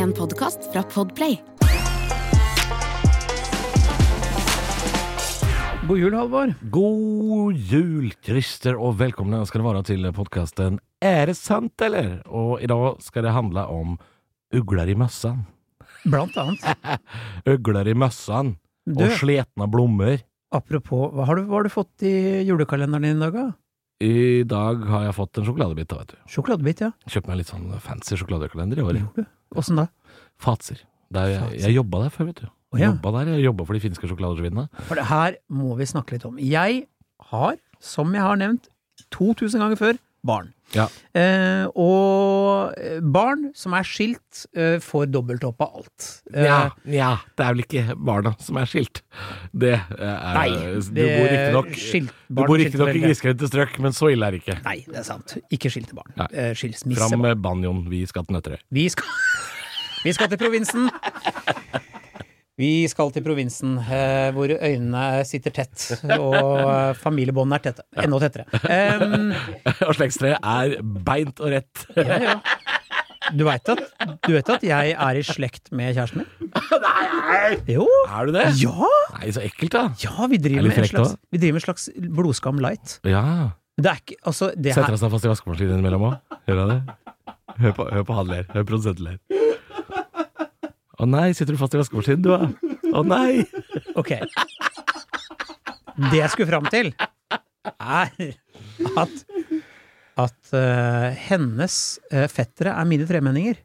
En podcast fra Podplay God jul, Halvor. God jul, Christer, og velkomna skal det være til podkasten Er det sant, eller? Og i dag skal det handle om ugler i møssan. Blant annet. Ugler i møssan Du, og sletne blommer. apropos, hva har du, hva har du fått i julekalenderen din i dag, da? I dag har jeg fått en sjokoladebit, da, vet du. Sjokoladebit, ja. Kjøpt meg litt sånn fancy sjokoladekalender i år. Gjorde du? Åssen da? Fatser. Der jeg, Fatser. jeg jobba der før, vet du. Å, Jeg ja. jobba der, jeg jobba for de finske sjokoladesvinene. For det her må vi snakke litt om. Jeg har, som jeg har nevnt 2000 ganger før, barn. Ja. Eh, og eh, barn som er skilt, eh, får dobbelttopp av alt. Eh, Nja, nja, det er vel ikke barna som er skilt. Det eh, er Nei, Du bor det- riktignok skilt- Du barn bor skilte riktignok i foreldre. grisgrendte strøk, men så ille er det ikke. Nei, det er sant. Ikke skilte barn. Nei. Eh, skilsmisse. Fram med banjoen, vi skal til Nøtterøy. Vi skal, vi skal til provinsen. Vi skal til provinsen eh, hvor øynene sitter tett, og eh, familiebåndene er tette. Enda tettere. Em, og slektstreet er beint og rett. ja, ja. Du veit at, du vet at jeg er i slekt med kjæresten min? Nei! Jo! Er du det? Ja! Nei, så ekkelt, da. Ja, vi Er driver, det med en frekt slags, også? vi driver med en slags blodskam light. Ja. Men Det er ikke Altså, det Setter her han seg fast i vaskemaskinen innimellom òg? Hører han det? Hør på, hør på han ler. Hør produsenten ler. Å nei, sitter du fast i vaskemaskinen, du, da? Å nei! Ok. Det jeg skulle fram til, er at, at eh, hennes eh, fettere er mine tremenninger.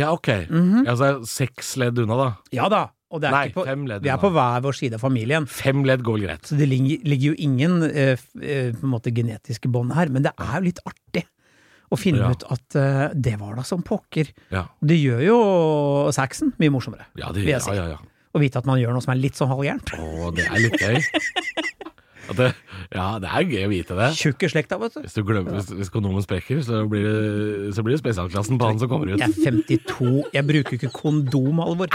Ja, ok. Mhm. Altså, jeg er seks ledd unna, da. Ja da! Og det er Nei, ikke på, fem ledd vi er unna. på hver vår side av familien. Fem ledd går vel greit. Så det ligger, ligger jo ingen eh, f- eh, på en måte genetiske bånd her, men det er jo litt artig å finne Ja. ut at eh, det var da som pokker. Ja, Det gjør jo saxen mye morsommere. ja, det, Vil jeg ja, si. ja, ja. Å vite at man gjør noe som er litt sånn halvgærent. Å, det er litt gøy. At det, ja, det er gøy å vite det. Tjukke slekta, vet du. Hvis, du glemmer, hvis, hvis kondomen sprekker, så blir det, så blir det spesialklassen på han som kommer ut. Jeg er 52, jeg bruker ikke kondom, Alvor.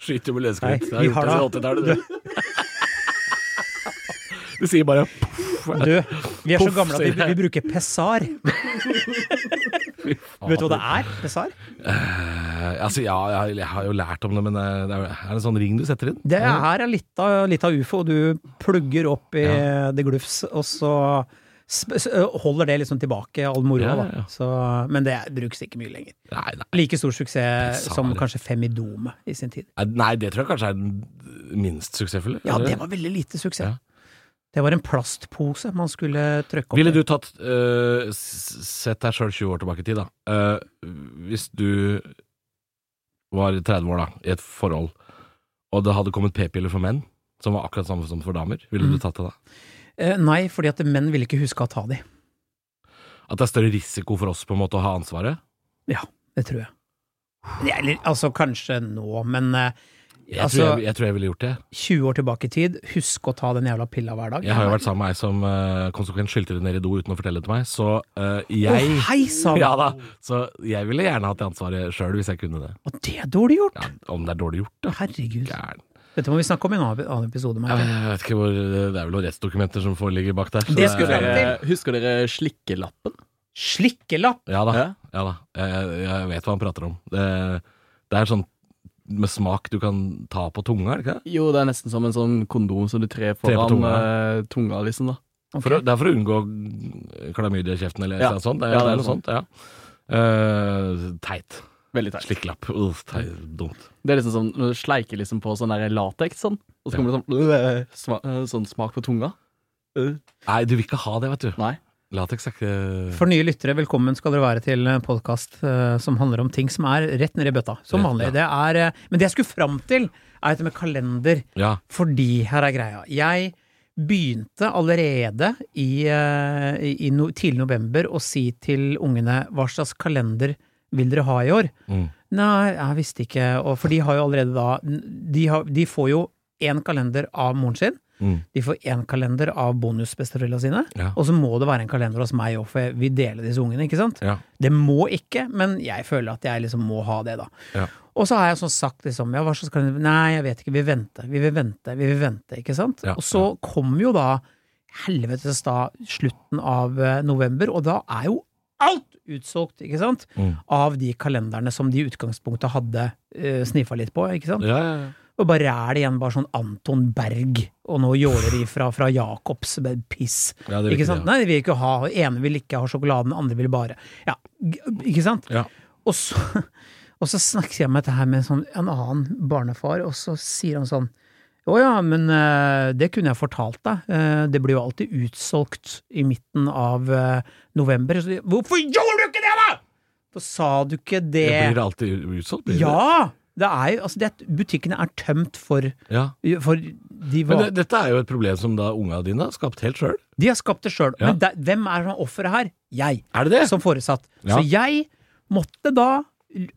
Skyter Nei, med løsskritt. Det vi har gjort det har siden 80-tallet, du. Du sier bare Du, vi er så Poff, gamle at vi, sier jeg. vi bruker pessar. Vet du hva det er? Pessar? Eh, Altså, ja, jeg, jeg har jo lært om det, men eh, det er, er det en sånn ring du setter inn? Det er- her er litt av, litt av ufo. Du plugger opp i det glufs, og så sp s- holder det liksom tilbake all moroa. Ja, ja, da. ja. Så- Men det brukes ikke mye lenger. Nei, nei. Like stor suksess Pessar. som kanskje Femidome i sin tid. nei, det tror jeg kanskje er den minst suksessfulle. Ja, eller? det var veldig lite suksess. Ja. Det var en plastpose man skulle trykke opp. Ville i. du tatt eh, s- Sett deg sjøl 20 år tilbake i tid, da. Eh, hvis du var 30 år, da, i et forhold, og det hadde kommet p-piller for menn, som var akkurat samme som for damer, ville Mm. du tatt det da? Eh, Nei, fordi at menn ville ikke huske å ta de. At det er større risiko for oss på en måte å ha ansvaret? Ja, det tror jeg. Det- Eller altså, kanskje nå, men eh, Jeg, altså, tror jeg, jeg tror jeg ville gjort det. 20 år tilbake i tid, husk å ta den jævla pilla hver dag. Jeg har jo vært sammen med ei som eh, konsekvent skyldte det ned i do uten å fortelle det til meg, så eh, Å, jeg hei sann! Ja da, så jeg ville gjerne hatt det ansvaret sjøl hvis jeg kunne det. Og det er dårlig gjort! Ja, om det er dårlig gjort, da. Herregud. Gæren. Dette må vi snakke om i en annen annen episode. Jeg Martin. jeg vet ikke hvor Det er vel noen rettsdokumenter som foreligger bak der. så Det skulle er- jeg fram Eh, Husker dere slikkelappen? Slikkelapp! Ja da. Ja. ja da. Jeg, jeg vet hva han prater om. Det, det er sånn med smak du kan ta på tunga, er det ikke det? Jo, det er nesten som en sånn kondom som du trer på foran tunga. tunga. Eh, tunga, liksom, da. For å, det er for å unngå klamydia i kjeften eller Ja. noe sånt. Det, Ja, det er noe sånt, ja. Eh, teit. Veldig teit. Slikkelapp. Uff, teit. Dumt. Det er liksom som når du sleiker liksom på sånn der lateks, sånn. Og så kommer det sånn, øh, sma, øh, sånn smak på tunga. Øh. Nei, du vil ikke ha det, vet du. Nei. Lateks er ikke For nye lyttere, velkommen skal dere være til en podkast eh, som handler om ting som er rett nedi bøtta. Som Rett, vanlig. Det er, eh, men det jeg skulle fram til, er dette med kalender. Ja. Fordi her er greia. Jeg begynte allerede i, eh, i no, tidlig november å si til ungene hva slags kalender vil dere ha i år? Mm. Nei, jeg visste ikke. Og, for de har jo allerede da De, har, de får jo én kalender av moren sin. Mm. De får én kalender av bonusbesteforeldra sine. Ja. Og så må det være en kalender hos meg òg, for jeg vil dele disse ungene. ikke sant? Ja. Det må ikke, men jeg føler at jeg liksom må ha det, da. Ja. Og så har jeg sånn sagt liksom ja, hva slags kalender? Nei, jeg vet ikke, vi venter, vi vil vente, vi vil vente, ikke sant? Ja, og så kom jo da helvetes da slutten av eh, november, og da er jo alt utsolgt, ikke sant? Mm. Av de kalenderne som de i utgangspunktet hadde uh, sniffa litt på, ikke sant? Ja, ja, ja. Og bare er det igjen bare sånn Anton Berg og noe jåleri fra, fra Jacobs med piss. Ja, det ikke vil ikke sant? det, ja. Nei, de vil ikke ha ene vil ikke ha sjokoladen, andre vil bare Ja, g- ikke sant? Ja. Og så, og så snakker jeg med dette her med en, sånn, en annen barnefar, og så sier han sånn Å ja, men eh, det kunne jeg fortalt deg. Eh, det blir jo alltid utsolgt i midten av eh, november. Så, Hvorfor gjorde du ikke det, da?! Så sa du ikke det, Det blir alltid utsolgt? blir det? Ja! Det er jo, altså det, er- butikkene er tømt for ja. for de, Men var, det, dette er jo et problem som da unga dine har skapt helt sjøl. de har skapt det sjøl. Ja. Men der, hvem er som er offeret her? Jeg, Er det det? som foresatt. Ja. Så jeg måtte da,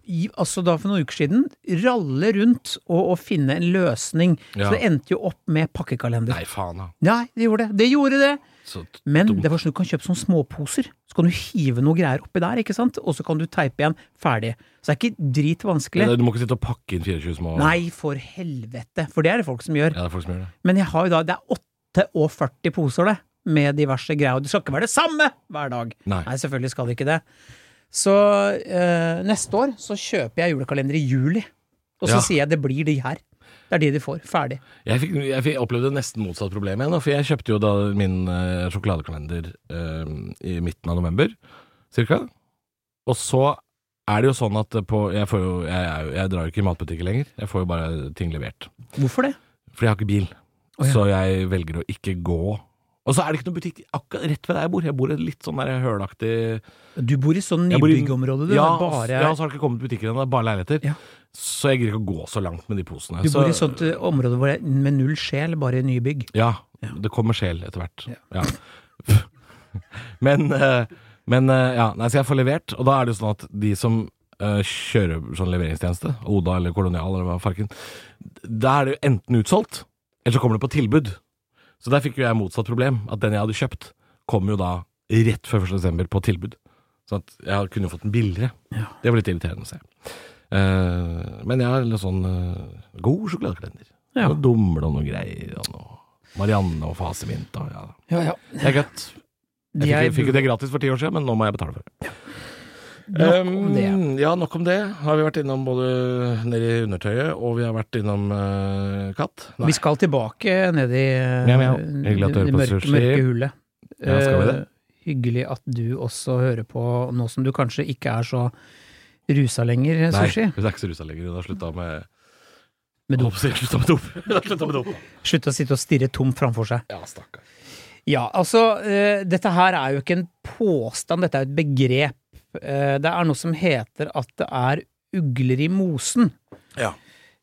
i- altså da for noen uker siden, ralle rundt og, og finne en løsning. Ja. Så det endte jo opp med pakkekalender. Nei, faen da. Nei, det gjorde det. Det gjorde det. Så t- Men dumt. det var sånn du kan kjøpe sånne småposer. Så kan du hive noe greier oppi der, ikke sant? og så kan du teipe igjen. Ferdig. Så det er ikke dritvanskelig. Du må ikke sitte og pakke inn 24 små Nei, for helvete. For det er det folk som gjør. Ja, det er folk som gjør det. Men jeg har jo da, det er 48 poser det, med diverse greier, og det skal ikke være det samme hver dag. Nei. Nei, selvfølgelig skal det ikke det. Så eh, neste år så kjøper jeg julekalender i juli, og så Ja. sier jeg det blir de her. Det er de de får. Ferdig. Jeg, fikk, jeg fikk opplevde nesten motsatt problem igjen, da, for jeg kjøpte jo da min eh, sjokoladekalender eh, i midten av november, cirka. Og så er det jo sånn at på, jeg, får jo, jeg, er jo- jeg drar jo ikke i matbutikker lenger, jeg får jo bare ting levert. Hvorfor det? For jeg har ikke bil, Å, ja. så jeg velger å ikke gå. Og så er det ikke noen butikk akkurat rett ved der jeg bor. Jeg bor i et litt sånn der hølaktig Du bor i sånn Jeg bor i- nybyggområde, du. ja, det er bare, ja, altså, og så har det ikke kommet butikker ennå, det er bare leiligheter. Ja. Så jeg gidder ikke å gå så langt med de posene. du så, bor i sånt eh, område hvor det er med null sjel, bare nybygg. Ja, det kommer sjel etter hvert. Ja. men eh, men eh, ja, nei, så jeg får levert, og da er det jo sånn at de som eh, kjører sånn leveringstjeneste, Oda eller Kolonial eller hva farken, da er det jo enten utsolgt, eller så kommer det på tilbud. Så der fikk jo jeg motsatt problem, at den jeg hadde kjøpt, kom jo da rett før 1. desember på tilbud. Så at jeg kunne jo fått den billigere. Det var litt irriterende å se. Eh, men jeg har litt sånn eh, god sjokoladekalender. Ja. Noe dumle og noe greier. Og noe Marianne og Fasemint og ja. Ja, ja. Det er godt. Jeg fikk, fikk jo det gratis for ti år siden, men nå må jeg betale for det. Nok om det. Um, ja, nok om det. Har vi vært innom både nedi undertøyet, og vi har vært innom eh, katt. Vi skal tilbake ned i eh, Mjau, mjau. Hyggelig at du hører det på mørke, Sushi. mørke hullet. Ja, skal vi det? Eh, Hyggelig at du også hører på, nå som du kanskje ikke er så rusa lenger, Nei, Sushi. hun er ikke så rusa lenger. Hun har slutta med Med dop. Holdt på å si, slutta med dop. Hun har slutta med dop. Slutt å sitte og stirre tomt framfor seg. Ja, stakkar. Ja, altså, eh, dette her er jo ikke en påstand, dette er jo et begrep. Eh, det er noe som heter at det er ugler i mosen. Ja.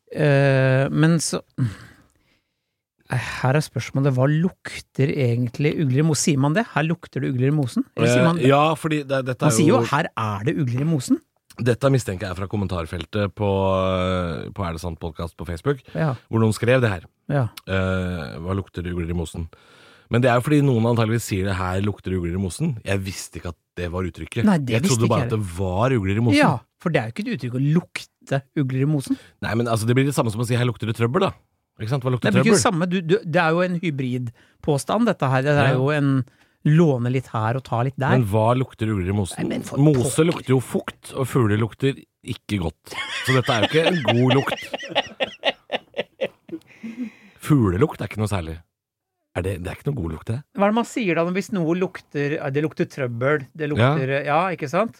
Eh, men så eh, Her er spørsmålet, hva lukter egentlig ugler i mosen? Sier man det? Her lukter det ugler i mosen? Eller sier man Eh, ja, fordi det, dette Man er sier jo, jo 'her er det ugler i mosen'. Dette mistenker jeg er fra kommentarfeltet på, eh, på Er det sant podkast på Facebook, Ja, hvor noen skrev det her. ja. Eh, hva lukter det ugler i mosen? Men det er jo fordi noen antageligvis sier det her lukter det ugler i mosen. Jeg visste ikke at det var uttrykket. Nei, det jeg visste trodde ikke bare jeg. at det var ugler i mosen. ja for det er jo ikke et uttrykk å lukte ugler i mosen. Nei, men altså, Det blir det samme som å si her lukter det trøbbel, da. Ikke sant? Hva Det lukter er, jo ikke trøbbel? det samme, du, du, det er jo en hybridpåstand, dette her. Det Ja. er jo en låne litt her og ta litt der. Men hva lukter ugler i mosen? Nei, men for Mose pokker. lukter jo fukt, og fugler lukter ikke godt. Så dette er jo ikke en god lukt. Fuglelukt er ikke noe særlig. Er det, det er ikke noe god lukt, det. Hva er det man sier da hvis noe lukter ja, Det lukter trøbbel, det lukter eh, Ja, ikke sant?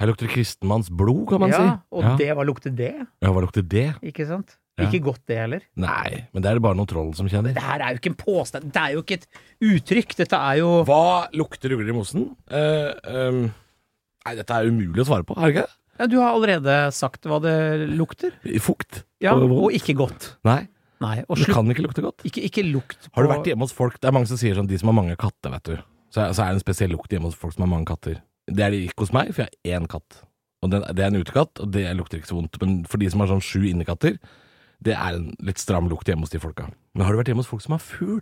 Her lukter det kristenmanns blod, kan man Ja, si. og Ja. det, hva lukter det? ja, hva lukter det? Ikke sant? Ja. Ikke godt det heller. Nei, men det er det bare noen troll som kjenner. Det her er jo ikke en påstand, det er jo ikke et uttrykk. Dette er jo Hva lukter ugler i mosen? Eh, ehm, nei, dette er umulig å svare på, er det ikke? ja, Du har allerede sagt hva det lukter. det? Fukt. Ja, Og vondt. og ikke godt. Nei, Nei, og det slutt. kan ikke lukte godt. Ikke, ikke lukt på Har du vært hjemme hos folk Det er mange som sier sånn De som har mange katter, vet du Så, så er det en spesiell lukt hjemme hos folk som har mange katter Det er det ikke hos meg For jeg har én katt Og den, det er en utekatt, og det lukter ikke så vondt. Men for de som har sånn sju innekatter, det er en litt stram lukt hjemme hos de folka. Men har du vært hjemme hos folk som har fugl?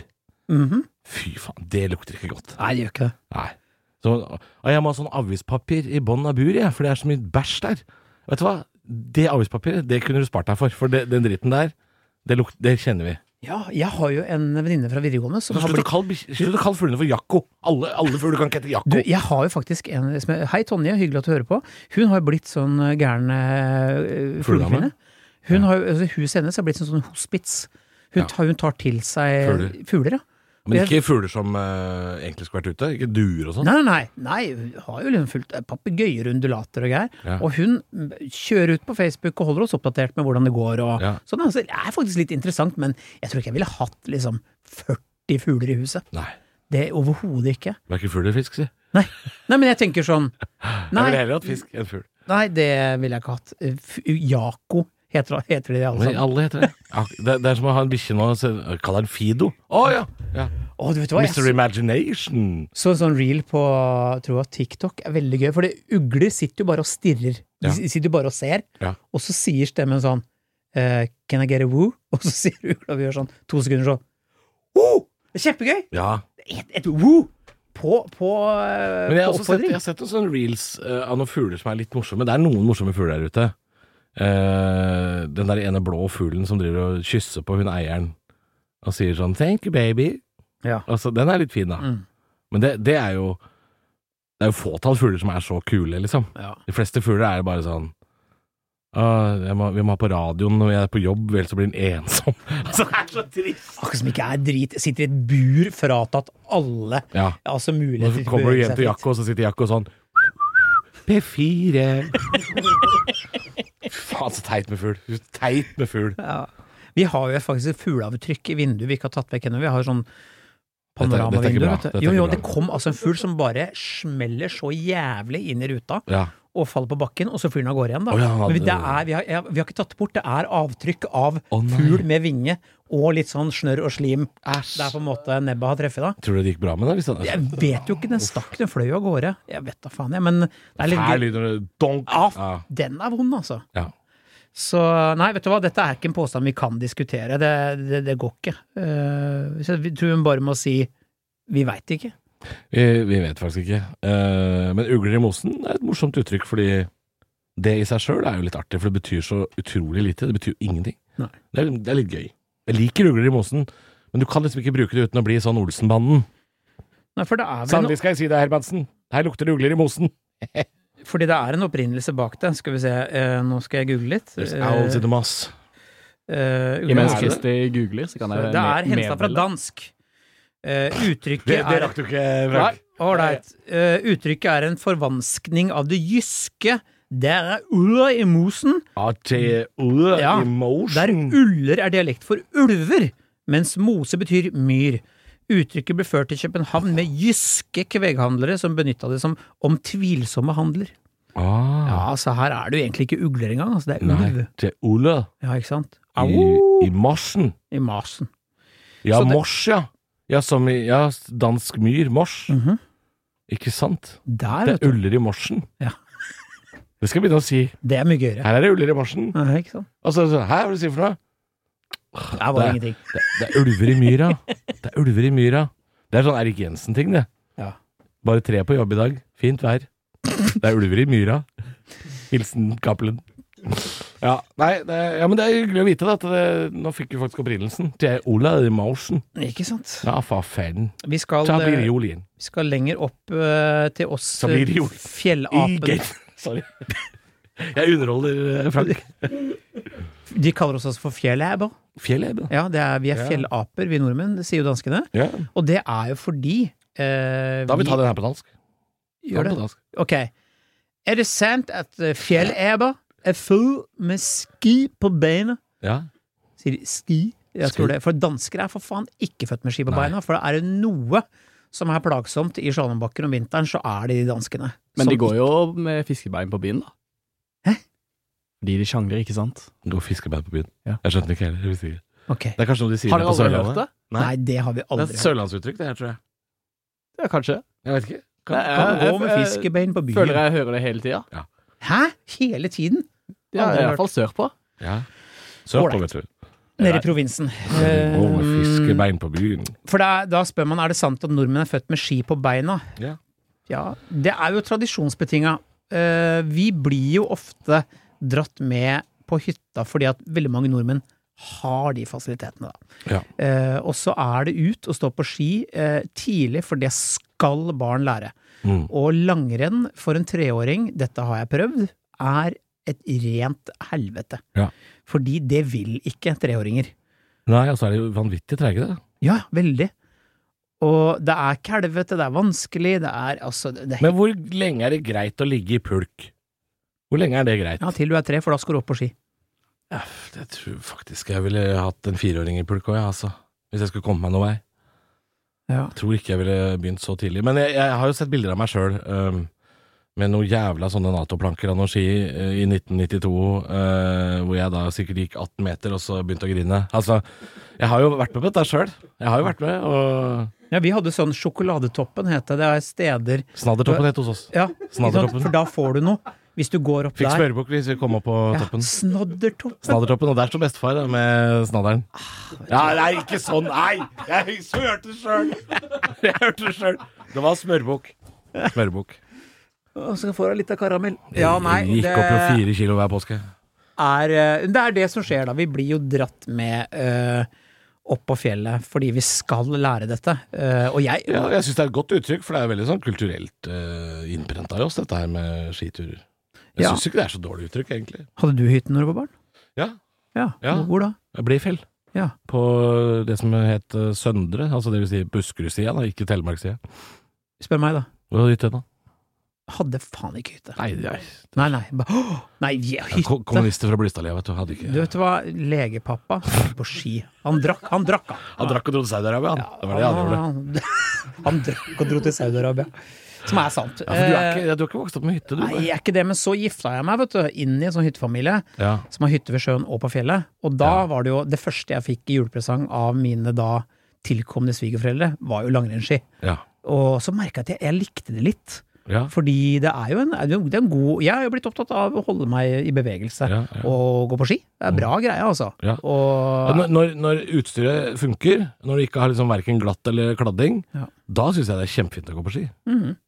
Mhm. Fy faen, det lukter ikke godt. Nei, det gjør ikke det. Nei. Så, og jeg må ha sånn avispapir i bånn av buret, jeg, for det er så mye bæsj der. Vet du hva? Det avispapiret, det kunne du spart deg for. For det, den dritten der, det, luk, det kjenner vi. Ja, jeg har jo en venninne fra videregående som Så har Slutt å blitt kalle bikk- slutt å kalle fuglene for Jakko. Alle, alle fugler kan ikke hete du, Jakko. jeg har jo faktisk en som er- Hei, Tonje, hyggelig at du hører på. Hun har blitt sånn eh, gæren eh, Fugledame? fuglekvinne. Hun har, jo- altså, huset hennes har blitt sånn, sånn hospits. Hun, Ja. tar, hun tar til seg Fugler. fugler, ja. Men ikke fugler som eh, egentlig skulle vært ute. Ikke duer og sånn. Nei, nei, nei, nei, hun har jo liksom fulgt eh, papegøyer, undulater og greier. Ja. Og hun mm, kjører ut på Facebook og holder oss oppdatert med hvordan det går og Ja. sånn. Altså, det er faktisk litt interessant, men jeg tror ikke jeg ville hatt liksom 40 fugler i huset. Nei. Det overhodet ikke. Verken fugl eller fisk, si. Nei. nei, men jeg tenker sånn Jeg ville Nei, heller hatt fisk enn fugl. nei det ville jeg ikke hatt. Eh, f- Jako heter, heter de alle Men sammen. alle heter det. Ja, det, det er som å ha en bikkje nå og se- kalle den Fido. Å ja! ja. Å, du vet hva, jeg Mr. Imagination. Så en sånn reel på tror jeg, TikTok er veldig gøy, fordi ugler sitter jo bare og stirrer. De Ja. s- sitter jo bare og ser, Ja. og så sier stemmen sånn eh, Can I get a woo? Og så sier ugla vi gjør sånn to sekunder sånn Woo! Det er kjempegøy! Ja. Et, et woo! På, på, eh, Men jeg på har også sett, oppfordring. jeg har sett noen sånne reels eh, av noen fugler som er litt morsomme. Det er noen morsomme fugler der ute. Eh, den der ene blå fuglen som driver og kysser på hun eieren og sier sånn 'thank you, baby'. Ja. Altså, den er litt fin, da. Mm. Men det, det er jo Det er jo fåtall fugler som er så kule, liksom. Ja. De fleste fugler er bare sånn «Åh, jeg må, 'Vi må ha på radioen når jeg er på jobb, ellers så blir den ensom'. altså, det er så trist! Akkurat som ikke er drit. Sitter i et bur fratatt alle Ja. altså Og muligheter så til å kommer du bevege hjem seg til fritt. Jakko, og så sitter Jakko sånn P4 Faen, så teit med fugl. Så Teit med fugl. Ja. Vi har jo faktisk et fugleavtrykk i vinduet vi ikke har tatt vekk ennå. Vi har sånn Dette er- dette er panoramavindu. ikke bra. vet du. Dette er Jo, jo, ikke bra. det kom altså en fugl som bare smeller så jævlig inn i ruta Ja. og faller på bakken, og så flyr den av gårde igjen, da. Å, ja, Men vi- det- det er, vi, har, ja, vi har ikke tatt det bort. Det er avtrykk av Å, nei. fugl med vinge og litt sånn snørr og slim. Det er Æsj. på en måte nebbet har treffet da. Tror du det gikk bra med deg? Hvis Jeg den, vet jo ikke, den stakk, den fløy jo av gårde. Jeg vet da faen, jeg, men det er litt Fæl gøy. lyd når det donk. Ja, Ja. f- den er vond, altså. Ja. Så nei, vet du hva, dette er ikke en påstand vi kan diskutere. Det, det, det går ikke. Eh, så jeg tror hun bare må si vi veit ikke. Vi, vi vet faktisk ikke. Eh, men ugler i mosen er et morsomt uttrykk, fordi det i seg sjøl er jo litt artig, for det betyr så utrolig lite. Det betyr jo ingenting. Nei. Det, er, det er litt gøy. Jeg liker ugler i mosen, men du kan liksom ikke bruke det uten å bli sånn Olsenbanden. Nei, for det er vel no, Sannelig skal jeg si det, Hermansen. Her lukter det ugler i mosen. fordi det er en opprinnelse bak det. Skal vi se, eh, nå skal jeg google litt. There's Eh, owls in the moss. eh, ugler- Imens er det? Kristi googler, så kan jeg det er med- henta fra meddele. dansk. Eh, uttrykket Det, det er rakk du ikke, Nei, Frank. Ålreit. Eh, uttrykket er en forvanskning av det jyske. Der er ulla i mosen. ATO Ja, Der emotion. uller er dialekt for ulver, mens mose betyr myr. Uttrykket ble ført til København med jyske kveghandlere som benytta det som om tvilsomme handler. ah, Ja, så her er det jo egentlig ikke ugler engang, altså det er ulv. nei, til Ole Ja, ikke sant? i, Au! i morsen. I masen. Ja, Så det- mors, ja. Ja, som i ja, dansk myr, mors. Mhm. Ikke sant? Der, Det vet er du. uller i morsen. Ja. Det skal jeg begynne å si. Det er mye gøyere. Her er det uller i morsen. Ja, ikke sant? Og så, så hæ, hva er det du sier for noe? Der var det Ah, Der. ingenting. Det, det er ulver i myra. Det er ulver i myra. Det er sånn Erik Jensen-ting, det. Ja. Bare tre på jobb i dag. Fint vær. Det er ulver i myra. Hilsen Cappelen. Ja, nei, det, er- ja, men det er hyggelig å vite da, at det, nå fikk vi faktisk opprinnelsen. Til Ola Mausen. Ikke sant? Ja, for faen. Vi skal, Ta blir eh, det jul igjen. vi skal lenger opp eh, til oss Så blir det eh, jul. I fjellapene. gate. Sorry. Jeg underholder eh, Frank. De kaller oss altså for fjellaber. Fjelleben. Ja, det er, vi er Ja. fjellaper, vi nordmenn. Det sier jo danskene. Ja. Og det er jo fordi eh, Da vil vi ta den her på dansk. vi Ta gjør den det. på dansk. Ok. Er det sant at eh, fjellæber er full med ski på beina? Ja. Sier de ski? Jeg Ski. tror det. For dansker er for faen ikke født med ski på Nei. beina. For er det noe som er plagsomt i Slalåmbakken om vinteren, så er det de danskene. Men Som de går jo med fiskebein på byen, da. Hæ? Fordi de sjangler, ikke sant? Gå fiskebein på byen. Ja. Jeg skjønte ikke heller. jeg visste ikke. ikke- Ok. Det er kanskje noe de sier Har dere på aldri Sørlandet. hørt det? Nei. Nei, det har vi Det aldri er et hørt. sørlandsuttrykk, det her, tror jeg. Ja, kanskje. Jeg vet ikke. Nei, Kan, kan, jeg- Kan jeg- gå med jeg- fiskebein på byen. Føler jeg hører det hele tida. Ja. Hæ? Hele tiden? Ja, Aldri I hørt. hvert fall sørpå. Ja. Sørpå, Ålreit. vet du. Nede i provinsen. Gå med Eh, fiskebein på byen. For da, da spør man er det sant at nordmenn er født med ski på beina. Ja. Ja, det er jo tradisjonsbetinga. Eh, vi blir jo ofte dratt med på hytta fordi at veldig mange nordmenn har de fasilitetene, da. Ja. Eh, og så er det ut og stå på ski eh, tidlig, for det skal barn lære. Mm. Og langrenn for en treåring, dette har jeg prøvd, er et rent helvete. Ja. Fordi det vil ikke treåringer. Nei, altså er det jo vanvittig treige, det. Ja, veldig. Og det er kalvete, det er vanskelig, det er altså det, det, Men hvor lenge er det greit å ligge i pulk? Hvor lenge er det greit? Ja, til du er tre, for da skal du opp på ski. Ja, Jeg tror faktisk jeg ville hatt en fireåring i pulk òg, jeg, altså. Hvis jeg skulle komme meg noen vei. Ja. Jeg tror ikke jeg ville begynt så tidlig. Men jeg, jeg har jo sett bilder av meg sjøl med noen jævla sånne Nato-planker av noen ski eh, i 1992, eh, hvor jeg da sikkert gikk 18 meter og så begynte å grine. Altså, jeg har jo vært med på dette sjøl. Jeg har jo vært med, og Ja, vi hadde sånn Sjokoladetoppen, het det. Det er steder Snaddertoppen het hos oss. Ja, ikke sant? Snaddertoppen. for da får du noe. Hvis du går opp Fikk der. smørebukk hvis vi kom opp på Ja, toppen. snaddertoppen. Snaddertoppen, og der står bestefar da, med snadderen. Ah, Ja, nei, ikke sånn, nei! Jeg så hørte det sjøl! Jeg hørte det sjøl. Det var smørbukk. Smørbukk. Og så får du litt av karamell. Ja, nei, Gikk det opp med er, fire kilo hver påske. eh, det er det som skjer da. Vi blir jo dratt med eh, opp på fjellet fordi vi skal lære dette. Eh, og jeg Ja, jeg syns det er et godt uttrykk, for det er veldig sånn kulturelt uh, innprenta i oss, dette her med skiturer. Jeg Ja. syns ikke det er så dårlig uttrykk, egentlig. Hadde du hytte når du var barn? Ja, Ja. Ja. Hvor da? jeg ble i fjell. Ja. På det som het eh, Søndre, altså det vil si Buskerud-sida, da, ikke Telemark-sida. Spør meg, da. Hvor har du hytte da? Hadde faen ikke hytte. Nei, nei. Nei, nei. Ba, Åh, nei, vi har Ko- hytte. Kommunister fra Blystadlia, vet du. Hadde ikke Du vet hva, legepappa på ski. Han drakk, han drakk, han. Han drakk og dro til Saudi-Arabia, han. det var det Ah. han gjorde. han, Ah. han drakk og dro til Saudi-Arabia. Som er sant. Ja, for du, er ikke, du har ikke vokst opp med hytte, du? Eh. Nei, jeg er ikke det, men så gifta jeg meg, vet du, inn i en sånn hyttefamilie Ja. som har hytte ved sjøen og på fjellet. Og da Ja. var det jo det første jeg fikk i julepresang av mine da tilkomne svigerforeldre, var jo langrennsski. Ja. Og så merka jeg at jeg, jeg likte det litt. Ja. Fordi det er jo en, det er en god Jeg har jo blitt opptatt av å holde meg i bevegelse Ja, ja. og gå på ski. Det er bra greie, altså. Ja. Og, Og Når, når, når utstyret funker, når du ikke har liksom verken glatt eller kladding, Ja. Mhm. da syns jeg det er kjempefint å gå på ski.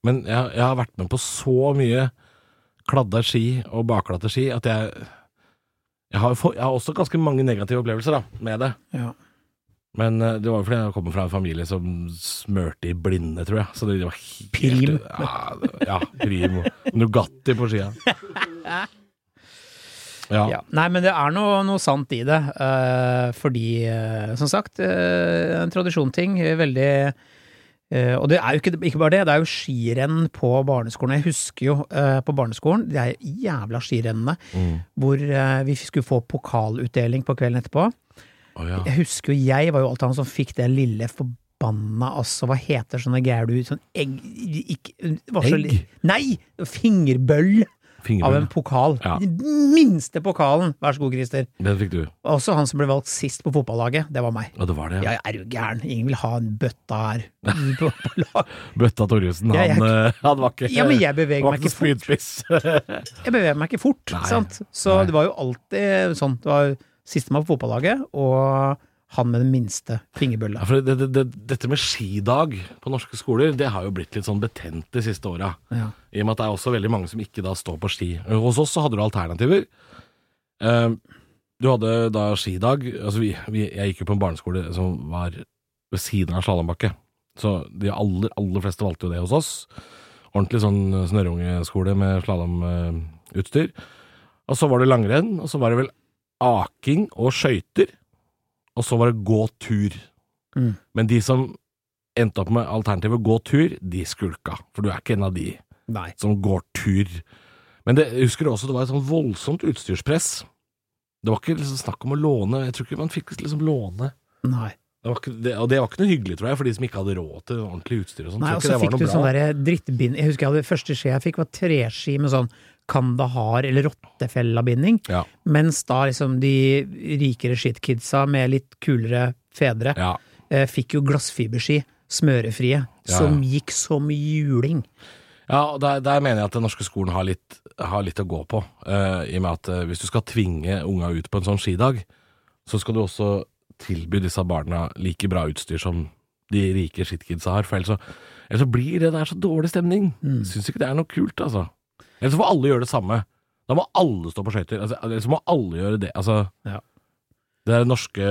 Men jeg, jeg har vært med på så mye kladda ski og bakglatte ski at jeg jeg har, få- jeg har også ganske mange negative opplevelser da, med det. Ja. Men eh, det var jo fordi jeg kommer fra en familie som smørte i blinde, tror jeg. Så det var helt, Prim. Ja, det- ja, prim. og Nugatti på skia. Ja. Ja. Nei, men det er noe, noe sant i det. eh, fordi, eh, som sagt, eh, en tradisjonting. eh, Veldig eh, Og det er jo ikke, ikke bare det, det er jo skirenn på barneskolen. Jeg husker jo eh, på barneskolen, de er jævla skirennene, Mm. hvor eh, vi skulle få pokalutdeling på kvelden etterpå. Å, ja. Jeg husker jo, jeg var jo alltid han som fikk det lille forbanna altså, Hva heter sånne greier du Sånn egg ikke, var så, li- Egg? Nei! Fingerbøll av en Fingerbøl. pokal. Ja. Den minste pokalen! Vær så god, Christer. Den fikk du. Også han som ble valgt sist på fotballaget. Det var meg. Ja, det var det. Ja. Ja, jeg er jo gæren. Ingen vil ha en bøtta her. På, på lag. Bøtta Torjussen, Ja, han, jeg- eh, han var ikke Ja, men jeg beveger han var meg ikke fort. spydspiss. Jeg beveger meg ikke fort, Nei. sant? Så Nei. det var jo alltid sånn. Det var sistemann på fotballaget, og han med den minste ja, fingerbølla. for det, det, det, dette med skidag på norske skoler, det har jo blitt litt sånn betent de siste åra. Ja. I og med at det er også veldig mange som ikke da står på ski. Hos oss så hadde du alternativer. Eh, Du hadde da skidag. Altså vi, vi, jeg gikk jo på en barneskole som var ved siden av slalåmbakke. Så de aller, aller fleste valgte jo det hos oss. Ordentlig sånn snørrungeskole med slalåmutstyr. Og så var det langrenn, og så var det vel aking og skøyter. Og så var det gå tur. Mm. Men de som endte opp med alternativet gå tur, de skulka. For du er ikke en av de Nei. som går tur. Men det, jeg husker også det var et sånn voldsomt utstyrspress. Det var ikke liksom snakk om å låne. Jeg tror ikke man fikk liksom låne. Nei. Det var ikke, det, og det var ikke noe hyggelig, tror jeg, for de som ikke hadde råd til ordentlig utstyr og sånn. Nei, og Tror så ikke det var fikk noe du bra. sånn derre drittbind Jeg husker jeg hadde første ski jeg fikk, var treski med sånn kandahar- eller rottefellabinding. Ja. Mens da liksom de rikere shitkidsa med litt kulere fedre Ja. eh, fikk jo glassfiberski, smørefrie, Ja, som gikk som juling. Ja, og der, der mener jeg at den norske skolen har litt, har litt å gå på. eh, I og med at eh, hvis du skal tvinge unga ut på en sånn skidag, så skal du også tilby disse barna like bra utstyr som de rike shitkidsa har. For ellers så, ellers så blir det der så dårlig stemning. Mm. Syns ikke det er noe kult, altså. Ellers så får alle gjøre det samme. Da må alle stå på skøyter. Altså, ellers så må alle gjøre det. Altså, Ja. Det der norske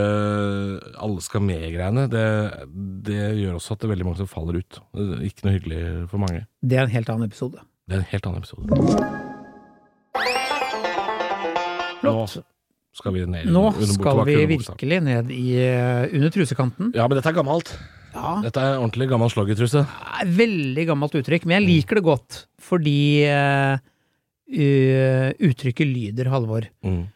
alle skal med-greiene, det, det gjør også at det er veldig mange som faller ut. Det er Ikke noe hyggelig for mange. Det er en helt annen episode. Det er en helt annen episode. Flott. Nå skal vi ned Nå under- under- skal tilbake vi under buksa. virkelig ned i eh, under trusekanten. Ja, men dette er gammelt. Ja, Dette er en ordentlig gammel sloggertruse. er et veldig gammelt uttrykk, men jeg Mm. liker det godt fordi eh, eh, uttrykket lyder Halvor. Mm.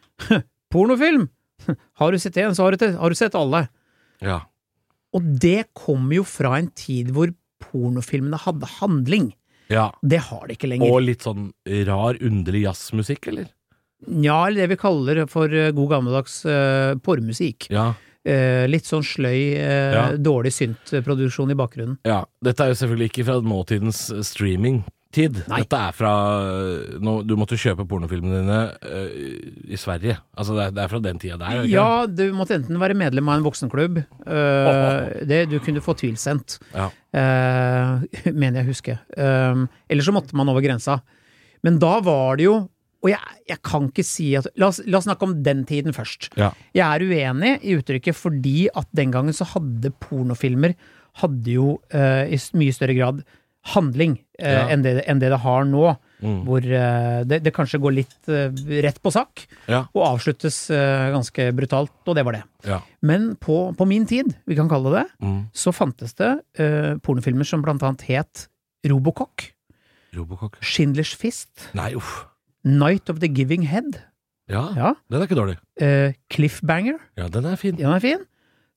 Pornofilm! Har du sett én, så har du, te- har du sett alle. Ja. Og det kommer jo fra en tid hvor pornofilmene hadde handling. ja. Det har de ikke lenger. Og litt sånn rar, underlig jazzmusikk, eller? Nja, eller det vi kaller for eh, god gammeldags uh, pormusikk. Ja. Eh, litt sånn sløy, eh, Ja. dårlig syntproduksjon i bakgrunnen. ja. Dette er jo selvfølgelig ikke fra nåtidens streamingtid. Nei. Dette er fra eh, nå, Du måtte kjøpe pornofilmene dine eh, i Sverige. Altså, det er, det er fra den tida der. er det ikke det? Ja, du måtte enten være medlem av en voksenklubb. eh, det, du kunne få tvilsendt. Ja. Eh, mener jeg å huske. Um, eller så måtte man over grensa. Men da var det jo Og jeg, jeg kan ikke si at la oss, la oss snakke om den tiden først. Ja. Jeg er uenig i uttrykket fordi at den gangen så hadde pornofilmer hadde jo eh, i s- mye større grad handling eh, Ja. enn, det, enn det det har nå. Mm. Hvor eh, det, det kanskje går litt eh, rett på sak, Ja. og avsluttes eh, ganske brutalt, og det var det. Ja. Men på, på min tid, vi kan kalle det det, Mm. så fantes det eh, pornofilmer som blant annet het Robocop, Robocop. Schindlers Fist, Nei, uff. Night of the Giving Head, Ja. ja, Den er ikke dårlig. eh, Cliffbanger, Ja, den er fin. den er fin,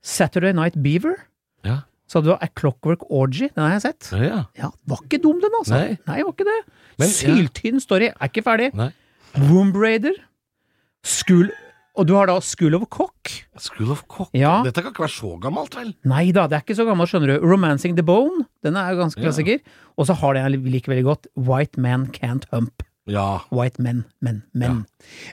Saturday Night Beaver, Ja. så hadde du A Clockwork Orgy, den har jeg sett. Ja. ja. Ja, var ikke dum den, altså. Nei. var ikke det. Men- Syltynn story, er ikke ferdig. Nei. Womb Raider, School Og du har da School of Cock. School of Cock. Ja. Dette kan ikke være så gammelt, vel? Nei da, det er ikke så gammel, skjønner du. Romancing the Bone, den er jo ganske Ja. klassiker. Og så har den jeg liker veldig godt, White Man Can't Hump. Ja. White Men, Men, Men.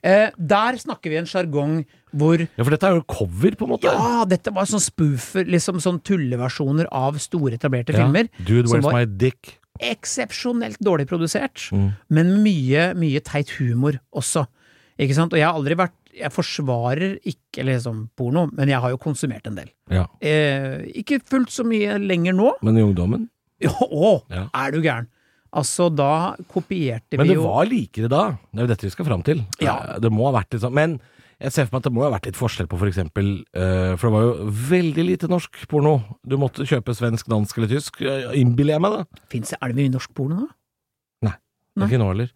Eh, der snakker vi en sjargong hvor Ja, for dette er jo cover, på en måte. ja, dette var sånn spoofer, liksom sånn tulleversjoner av store etablerte filmer. Dude, som where's var- my dick? Eksepsjonelt dårlig produsert, Mm. men mye, mye teit humor også. Ikke sant? Og jeg har aldri vært Jeg forsvarer ikke liksom porno, men jeg har jo konsumert en del. Ja. Eh, ikke fullt så mye lenger nå, Men i ungdommen? Jo, Å, Ja. er du gæren? Altså, da kopierte vi Men det jo var likere da. Det er jo dette vi skal fram til. Ja. Eh, Det må ha vært litt sånn. Men jeg ser for meg at det må ha vært litt forskjell på for eksempel eh, For det var jo veldig lite norsk porno. Du måtte kjøpe svensk, dansk eller tysk. eh, Innbiller jeg meg, da. Finnes det, Er det mye norsk porno nå? Nei. Ikke nå heller.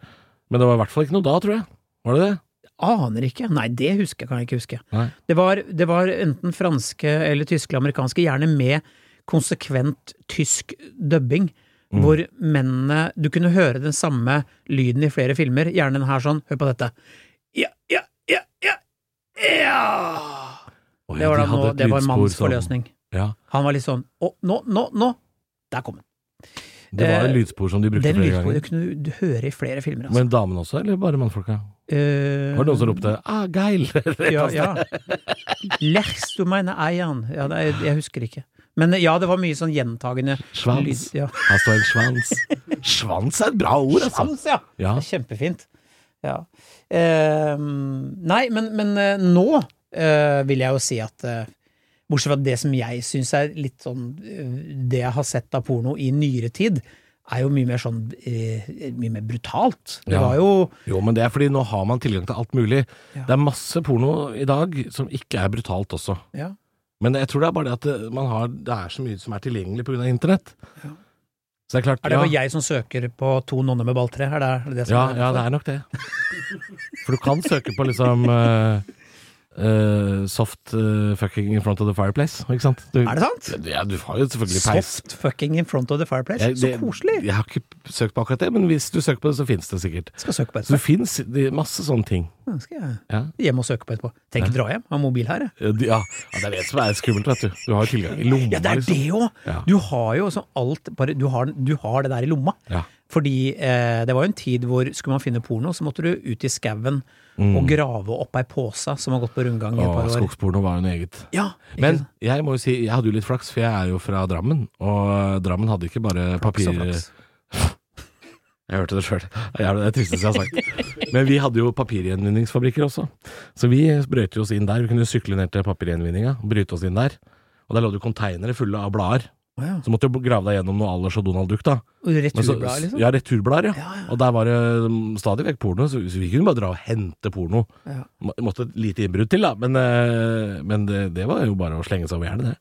Men det var i hvert fall ikke noe da, tror jeg. Var det det? Aner ikke. Nei, det husker jeg, kan jeg ikke huske. Nei. Det var, det var enten franske eller tyske eller amerikanske, gjerne med konsekvent tysk dubbing. Mm. Hvor mennene Du kunne høre den samme lyden i flere filmer. Gjerne den her sånn. Hør på dette. Ja, ja, ja, ja, ja. Å, ja, Det var, de da nå, hadde et det var lydspor mannens som- forløsning. Ja. Han var litt sånn Å, nå, nå, nå! Der kom den. Det var Eh, et lydspor som de brukte Den flere lydsporet ganger. kunne du høre i flere filmer. Altså. Men damene også, eller bare mannfolka? Eh, Var det noen som ropte 'ah, geil'? ja, ja. Lers du meine eian. Ja, det er, jeg husker ikke. Men ja, det var mye sånn gjentagende lyd. Svans. Ja. Her står en svans. Svans er et bra ord, altså. Svans, ja. Ja. Det er kjempefint. Ja. Eh, nei, men, men eh, nå eh, vil jeg jo si at eh, Bortsett fra det som jeg syns er litt sånn eh, Det jeg har sett av porno i nyere tid, er jo mye mer sånn eh, Mye mer brutalt. Det Ja. var jo Jo, men det er fordi nå har man tilgang til alt mulig. Ja. Det er masse porno i dag som ikke er brutalt også. ja. Men jeg tror det er bare det at det, man har, det er så mye som er tilgjengelig pga. internett. Så det er klart Er det ja, bare jeg som søker på to nonner med balltre? Er det er det, det som ja, er ja, det er nok det. For du kan søke på liksom eh, eh, soft eh, fucking in front of the fireplace, ikke sant? Du, Er det sant? Ja, du har jo selvfølgelig peis. Soft fucking in front of the fireplace. Jeg- så det- koselig! Jeg har ikke søkt på akkurat det, men hvis du søker på det, så finnes det sikkert. Skal søke på Så det etterpå. finnes det er masse sånne ting. Ja, Skal jeg Ja. hjem og søke på etterpå. Tenk å dra hjem, ha mobil her, jeg. Ja, de- ja, ja, det er det som er skummelt, vet du. Du har jo tilgang i lomma, Ja, det er liksom. det òg! Ja. Du har jo sånn alt bare du har, du har det der i lomma. Ja. Fordi eh, det var jo en tid hvor skulle man finne porno, så måtte du ut i skauen og Mm. grave opp ei påse som har gått på rundgang i et Og par år. skogsporno var jo noe eget. Ja, ikke Men sant? jeg må jo si, jeg hadde jo litt flaks, for jeg er jo fra Drammen. Og Drammen hadde ikke bare papir... Så flaks. Jeg hørte det sjøl. Det er det tristeste jeg har sagt. Men vi hadde jo papirgjenvinningsfabrikker også. Så vi brøyte oss inn der. Vi kunne sykle ned til papirgjenvinninga, bryte oss inn der. Og der lå det jo konteinere fulle av blader. Å ja. Så måtte du grave deg gjennom noe Allers og Donald-dukt, da. Og Men så- Returblad, liksom? Ja, returblader, ja. Ja, ja. Og der var det mm, stadig vekk porno, så så vi kunne bare dra og hente porno. Ja. Må- Måtte et lite innbrudd til, da, men, eh, men det, det var jo bare å slenge seg over gjerdet, det.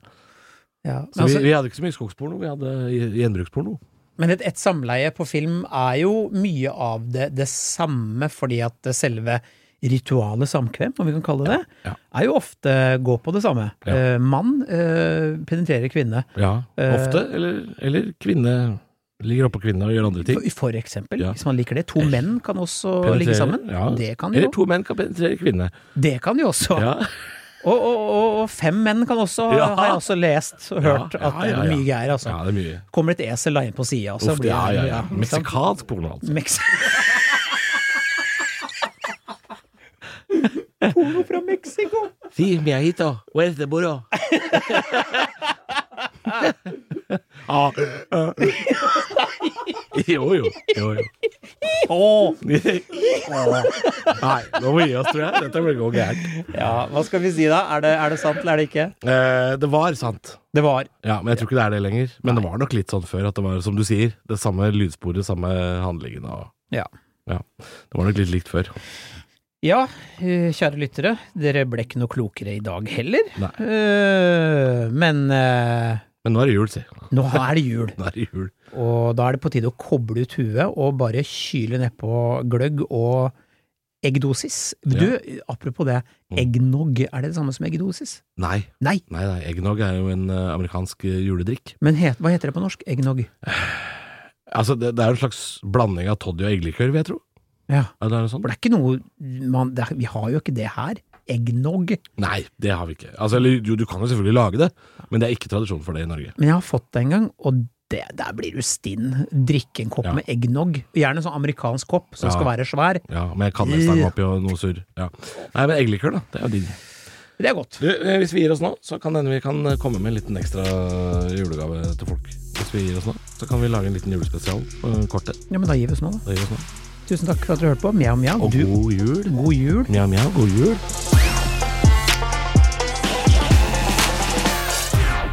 Ja. Men, Så altså, vi, vi hadde ikke så mye skogsporno, vi hadde gje- gjenbruksporno. men et, et samleie på film er jo mye av det, det samme, fordi at det selve ritualet samkvem, om vi kan kalle det det, Ja, ja. er jo ofte gå på det samme. Ja. Eh, mann eh, penetrerer kvinne, Ja, Eh, ofte. Eller, eller kvinne ligger oppå kvinne og gjør andre ting. for, for eksempel. Ja. Hvis man liker det. To menn kan også ligge Penetrere, sammen. ja. Det kan de Eller jo. to menn kan penetrere kvinne. Det kan de også. Ja. Og, og, og, og fem menn kan også, Ja. har jeg også lest og hørt, Ja, ja, at det ja, er ja. mye greier, altså. ja, det er mye. Kommer det et esel da inn på sida, så Uff, blir ja, ja, ja. ikke sant? Meksikansk porno, altså. Mex... Porno fra Mexico! Si, mi ajito, where's the burro? ah, eh. jo, jo. jo, jo. Nei, nå må vi gi oss, tror jeg. Dette blir gå gærent. Ja, hva skal vi si da? Er det, er det sant, eller er det ikke? Eh, det var sant. Det var Ja, men jeg tror ikke det er det lenger. Men det var nok litt sånn før at det var, som du sier, det samme lydsporet, samme handlingen og Ja. ja. Det var nok litt likt før. Ja, eh, kjære lyttere, dere ble ikke noe klokere i dag heller. Nei. Eh, Men eh, Men nå er det jul, si. nå er det jul, Nå er det jul. og da er det på tide å koble ut huet og bare kyle nedpå gløgg og eggdosis. Du, apropos det, Mm. eggnog, er det det samme som eggdosis? Nei. Nei. Nei, nei. Eggnog er jo en eh, amerikansk eh, juledrikk. Men het, hva heter det på norsk? Eggnog? Altså, det, det er jo en slags blanding av toddy og eggelikør, vil jeg tro. Ja. Er det noe sånt? For det er ikke noe man, det er, Vi har jo ikke det her. Eggnog. Nei, det har vi ikke. Altså, eller jo, du kan jo selvfølgelig lage det, men det er ikke tradisjon for det i Norge. Men jeg har fått det en gang, og det, der blir du stinn. Drikke en kopp Ja. med eggnog. Gjerne en sånn amerikansk kopp som Ja. skal være svær. Ja, Med kannestang oppi og noe surr. Ja. Nei, men eggelikør, da. Det er jo din. Det er godt. Du, eh, hvis vi gir oss nå, så kan det hende vi kan eh, komme med en liten ekstra eh, julegave til folk. Hvis vi gir oss nå, så kan vi lage en liten julespesial på kortet. Ja, men da gir vi oss nå, da. Da gir vi oss nå. Tusen takk for at dere hørte på. Mjau, mjau. Og Du, god jul. god jul. Mjau, mjau, god jul.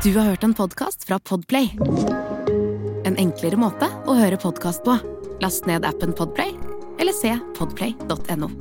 Du har hørt en podcast fra Podplay. En enklere måte å høre podcast på. Last ned appen Podplay, eller se podplay.no.